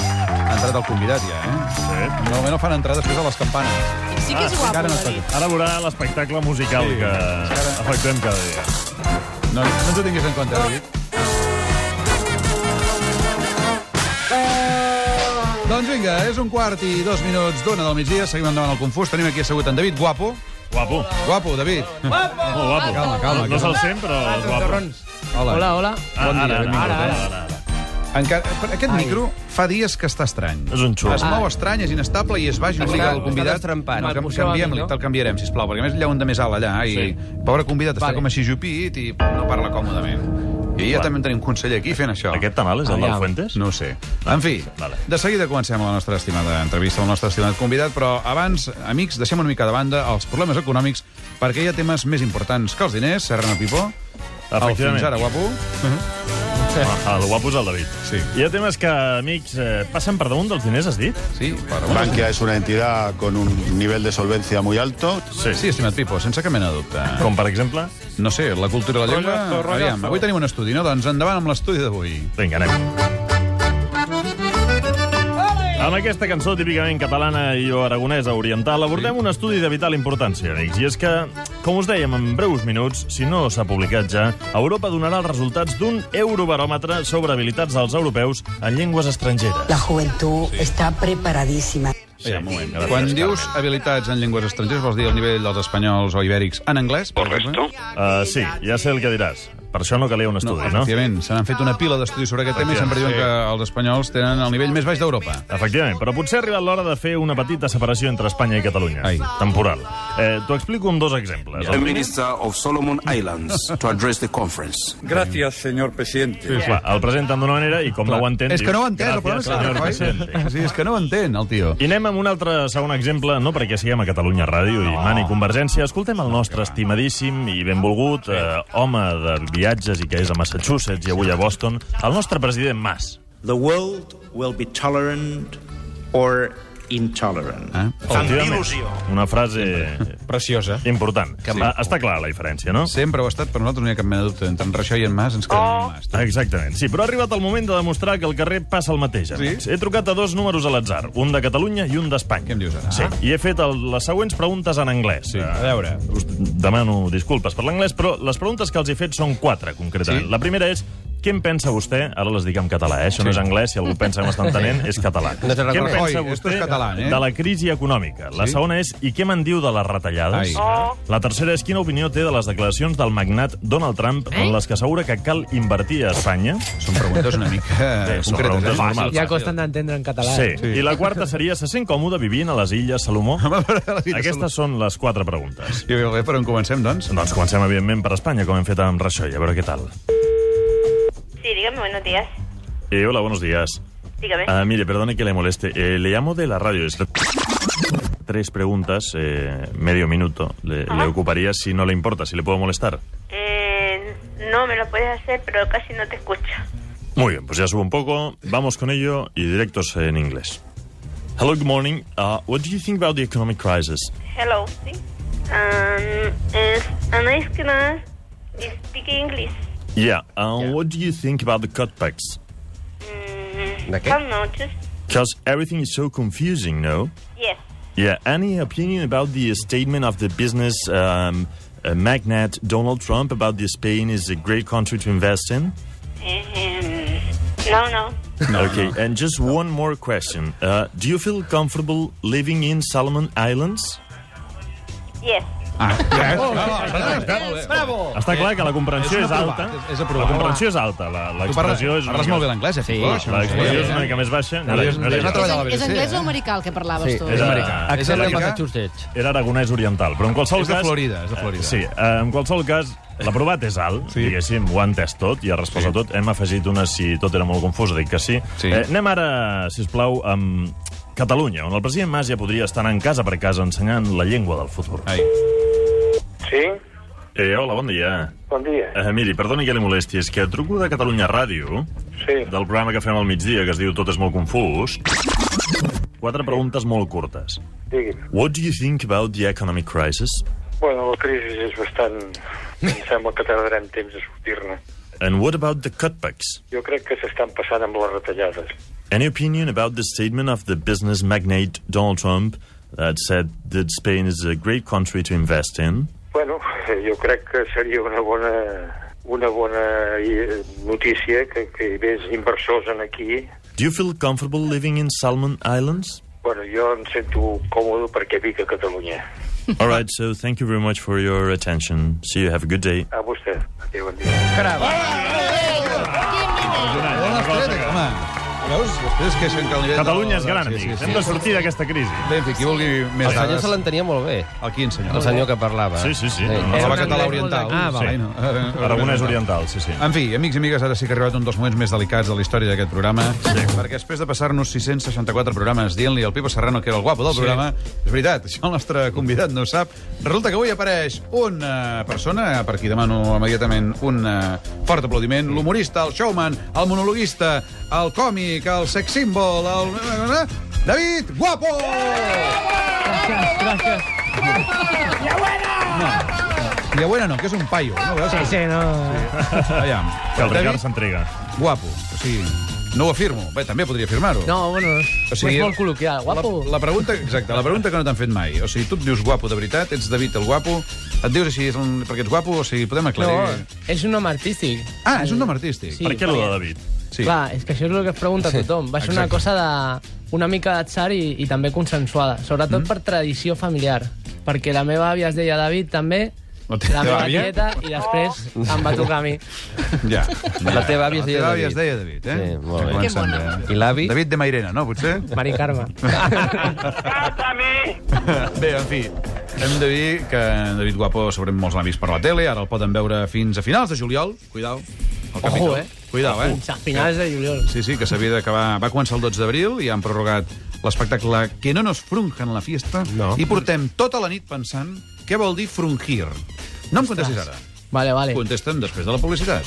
entrat el convidat, ja, eh? Sí. Normalment el fan entrar després de les campanes. Sí que és Ah, guapo, encara no no està David. Ara veurà l'espectacle musical Sí. que Encara- efectuem cada dia. No, no ens ho tinguis en compte, David. Doncs vinga, és un quart i dos minuts d'una del migdia. Seguim endavant al Confús. Tenim aquí assegut en David, guapo. Guapo. Guapo, David. Molt guapo. Calma, calma, No calma. se'l sent, però és guapo. Hola. Hola, hola. Ah, Bon dia, ara, benvingut, ara, eh? ara, ara, ara. Encara, per aquest Ai. micro fa dies que està estrany. És un xulo. Es mou estrany, és inestable i es va jubilar el està convidat. destrempat. No, Me'l can, poseu a mi, canviem, no? te'l canviarem, sisplau, perquè a més hi ha un de més alt allà. I, Sí. Pobre convidat, està Vale. com així jupit i no parla còmodament. I ja Clar. també en tenim un conseller aquí fent això. Aquest tan alt és el Allà. del Fuentes? No ho sé. En fi, Vale. de seguida comencem la nostra estimada entrevista al nostre estimat convidat, però abans, amics, deixem una mica de banda els problemes econòmics, perquè hi ha temes més importants que els diners, Serrano Pipó, el Efectivament. fins ara guapo... Ah, el guapo és el David. Sí. Hi ha temes que, amics, eh, passen per damunt dels diners, has dit? Sí, per Bankia es una entidad con un nivel de solvencia muy alto. Sí, estimat Pipo, sense cap mena de dubte. Com, per exemple? No sé, la cultura i la llengua... Rollazo, rollazo. Aviam, avui tenim un estudi, no? Doncs endavant amb l'estudi d'avui. Vinga, anem. Amb aquesta cançó típicament catalana i o aragonesa oriental abordem un estudi de vital importància, amics. I és que, com us dèiem, en breus minuts, si no s'ha publicat ja, Europa donarà els resultats d'un eurobaròmetre sobre habilitats dels europeus en llengües estrangeres. La juventud está preparadísima. Sí, un moment, que la Quan tinc dius habilitats en llengües estrangeres, vols dir el nivell dels espanyols o ibèrics en anglès? Correcto. Uh, sí, ja sé el que diràs. Per això no calia un No, estudi, no? efectivament, se n'han fet una pila d'estudis sobre aquest tema i sempre diuen Sí. que els espanyols tenen el nivell més baix d'Europa. Efectivament, però potser ha arribat l'hora de fer una petita separació entre Espanya i Catalunya. Ai. Temporal. Eh, T'ho explico amb dos exemples. The Minister of Solomon Islands to address the conference. Gracias, señor presidente. Sí, clar, el presenten d'una manera i com no ho entén... és que no ho entén, el problema Gràcies, és que senyor no presidente. Sí, és que no ho entén, el tio. I anem amb un altre segon exemple, no perquè siguem a Catalunya Ràdio i Mani Convergència. Escoltem el nostre estimadíssim i benvolgut eh, home de viatges i que és a Massachusetts i avui a Boston, el nostre president Mas. The world will be tolerant or intolerant. Eh? Efectivament, Una frase Preciosa. important. Sí. Està clara la diferència, no? Sempre ho ha estat, per nosaltres no hi ha cap mena de dubte. Entre en Reixó i en Mas ens quedem Oh. en Mas. Ah, Exactament, sí, però ha arribat el moment de demostrar que al carrer passa el mateix. amics. He trucat a dos números a l'atzar, un de Catalunya i un d'Espanya. Què em dius ara? Ah. Sí, i he fet el, les següents preguntes en anglès. Sí, a veure. Us demano disculpes per l'anglès, però les preguntes que els he fet són quatre, concretament. Sí. La primera és, què en pensa vostè? Ara les dic en català, eh? Això no és anglès, si algú pensa que m'està entenent, és català. No te què en reconec. pensa Oi, esto vostè es catalán, eh? de la crisi econòmica? La Sí. segona és, i què me'n diu de les retallades? Ai. La tercera és quina opinió té de les declaracions del magnat Donald Trump en les que assegura que cal invertir a Espanya. Són preguntes una mica Bé, són concretes. preguntes eh? normals. Ja costen d'entendre en català. eh? Sí. I la quarta seria, se sent còmode vivint a les Illes Salomó? Home, però la vida Aquestes són les quatre preguntes. I bé, per on comencem, doncs? Doncs comencem, evidentment, per Espanya, com hem fet amb Rajoy. A veure què tal. Sí, dígame, buenos días. Eh, hola, buenos días. Dígame. Ah, mire, perdone que le moleste. Eh, le llamo de la radio. Es- Tres preguntas, eh, medio minuto. Le, le ocuparía si no le importa, si le puedo molestar. Eh, no me lo puedes hacer, pero casi no te escucho. Muy bien, pues ya subo un poco. Vamos con ello y directos en inglés. Hello, good morning. Uh, what do you think about the economic crisis? Hello. Sí. Um, es an ice cream. You speak English. Yeah. Uh, What do you think about the cutbacks? Mm, ¿De qué? Some noches. Because everything is so confusing, no? Yes. Yeah. Any opinion about the statement of the business um, uh, magnate Donald Trump about the Spain is a great country to invest in? Eh, em, no, no. okay. And just one more question. Uh, do you feel comfortable living in Solomon Islands? Yes. Oh, Ah, Bravo! Està clar que la comprensió És és, aprovat, alta. és- és aprovat. La comprensió és alta. la- tu parles, L'expressió és una parles mica- molt bé l'anglès, eh? Sí. Fico? Això no La sé, expressió és eh? una mica més baixa. No, No, era- és- no era és una jo. treballar a la És BBC, anglès eh? o americà el que parlaves Sí, tu? és Era- americà. és Excepte americà. Massachusetts. Era aragonès oriental, però en qualsevol És de cas... Florida, és de Florida. Sí, eh, en qualsevol cas, l'aprovat és alt, sí. diguéssim, ho ha entès tot i ha respost Sí. sí. a tot. Hem afegit una si tot era molt confús, dic que sí. Sí. Eh, anem ara, si us plau, amb Catalunya, on el president Mas ja podria estar anant casa per casa ensenyant la llengua del futur. Ai. Sí, Eh, hola, bon dia. bon dia. Eh, miri, perdoni que li molesti, és que truco de Catalunya Ràdio, Sí, del programa que fem al migdia, que es diu Tot és molt confús. Quatre preguntes molt curtes. digui'm. What do you think about the economic crisis? Bueno, la crisi és bastant... Em sembla que tardarem temps a sortir-ne. And what about the cutbacks? Jo crec que s'estan passant amb les retallades. Any opinion about the statement of the business magnate Donald Trump that said that Spain is a great country to invest in? Bueno, eh, jo crec que seria una bona una bona eh, notícia que, que hi hagués inversors en aquí. Do you feel comfortable living in Salmon Islands? Bueno, jo em sento còmode perquè vic a Catalunya. All right, so thank you very much for your attention. See you. Have a good day. A vostè. Adéu, bon dia. Ah, Bona estreta, home. Veus? Després que sent que el nivell... Catalunya del- és gran, Ah, Sí, sí, amics. sí. Hem de sortir d'aquesta crisi. Ben, fi, qui vulgui més El senyor se dades... l'entenia molt bé, El quin senyor? el senyor que parlava. Eh, Sí, sí, sí. No, no. El Era un Parlava català anglès oriental. molt d'aquí. Ah, val. Sí. No. Aragonès Oriental, sí, sí. En fi, amics i amigues, ara sí que ha arribat un dels moments més delicats de la història d'aquest programa, sí. perquè després de passar-nos 664 programes dient-li al Pipo Serrano que era el guapo del programa, és veritat, això el nostre convidat no ho sap, resulta que avui apareix una persona, per qui demano immediatament un eh, fort aplaudiment, l'humorista, el showman, el monologuista, el còmic, el sex symbol, el... David Guapo! I a bueno no, que és un paio, no ho veus? Sí, no... Aviam, Que el David Ricard s'entrega. Guapo, o sigui, no ho afirmo. Bé, també podria afirmar-ho. No, bueno, O o sigui, sigui, és molt col·loquial, guapo. La, la pregunta, exacte, la pregunta que no t'han fet mai. O sigui, tu et dius guapo de veritat, ets David el guapo, et dius així és un, perquè ets guapo, o sigui, podem aclarir... No, és un nom artístic. Ah, és un nom artístic. Sí. Per què allò de David? sí. Clar, és que això és el que es pregunta a tothom. Va ser una Exacte. cosa de una mica d'atzar i, i també consensuada, sobretot Mm. per tradició familiar, perquè la meva àvia es deia David també, La la, teva meva àvia? tieta, i després em va tocar a mi. Ja. La teva àvia es deia La teva àvia David. es deia David, eh? Sí, molt bé. Que Que bona. I l'avi? David de Mairena, no, potser? Mari Carme. Bé, en fi, hem de dir que David Guapo segurament molts l'han vist per la tele, ara el poden veure fins a finals de juliol. Cuidao. al capítol. eh? Cuidao, eh? A finals de juliol. Sí, sí, que s'havia d'acabar... Va començar el 12 d'abril i han prorrogat l'espectacle Que no nos frunjan la fiesta no. i portem tota la nit pensant què vol dir frungir. No em contestis ara. Vale, vale. Contesta'm després de la publicitat.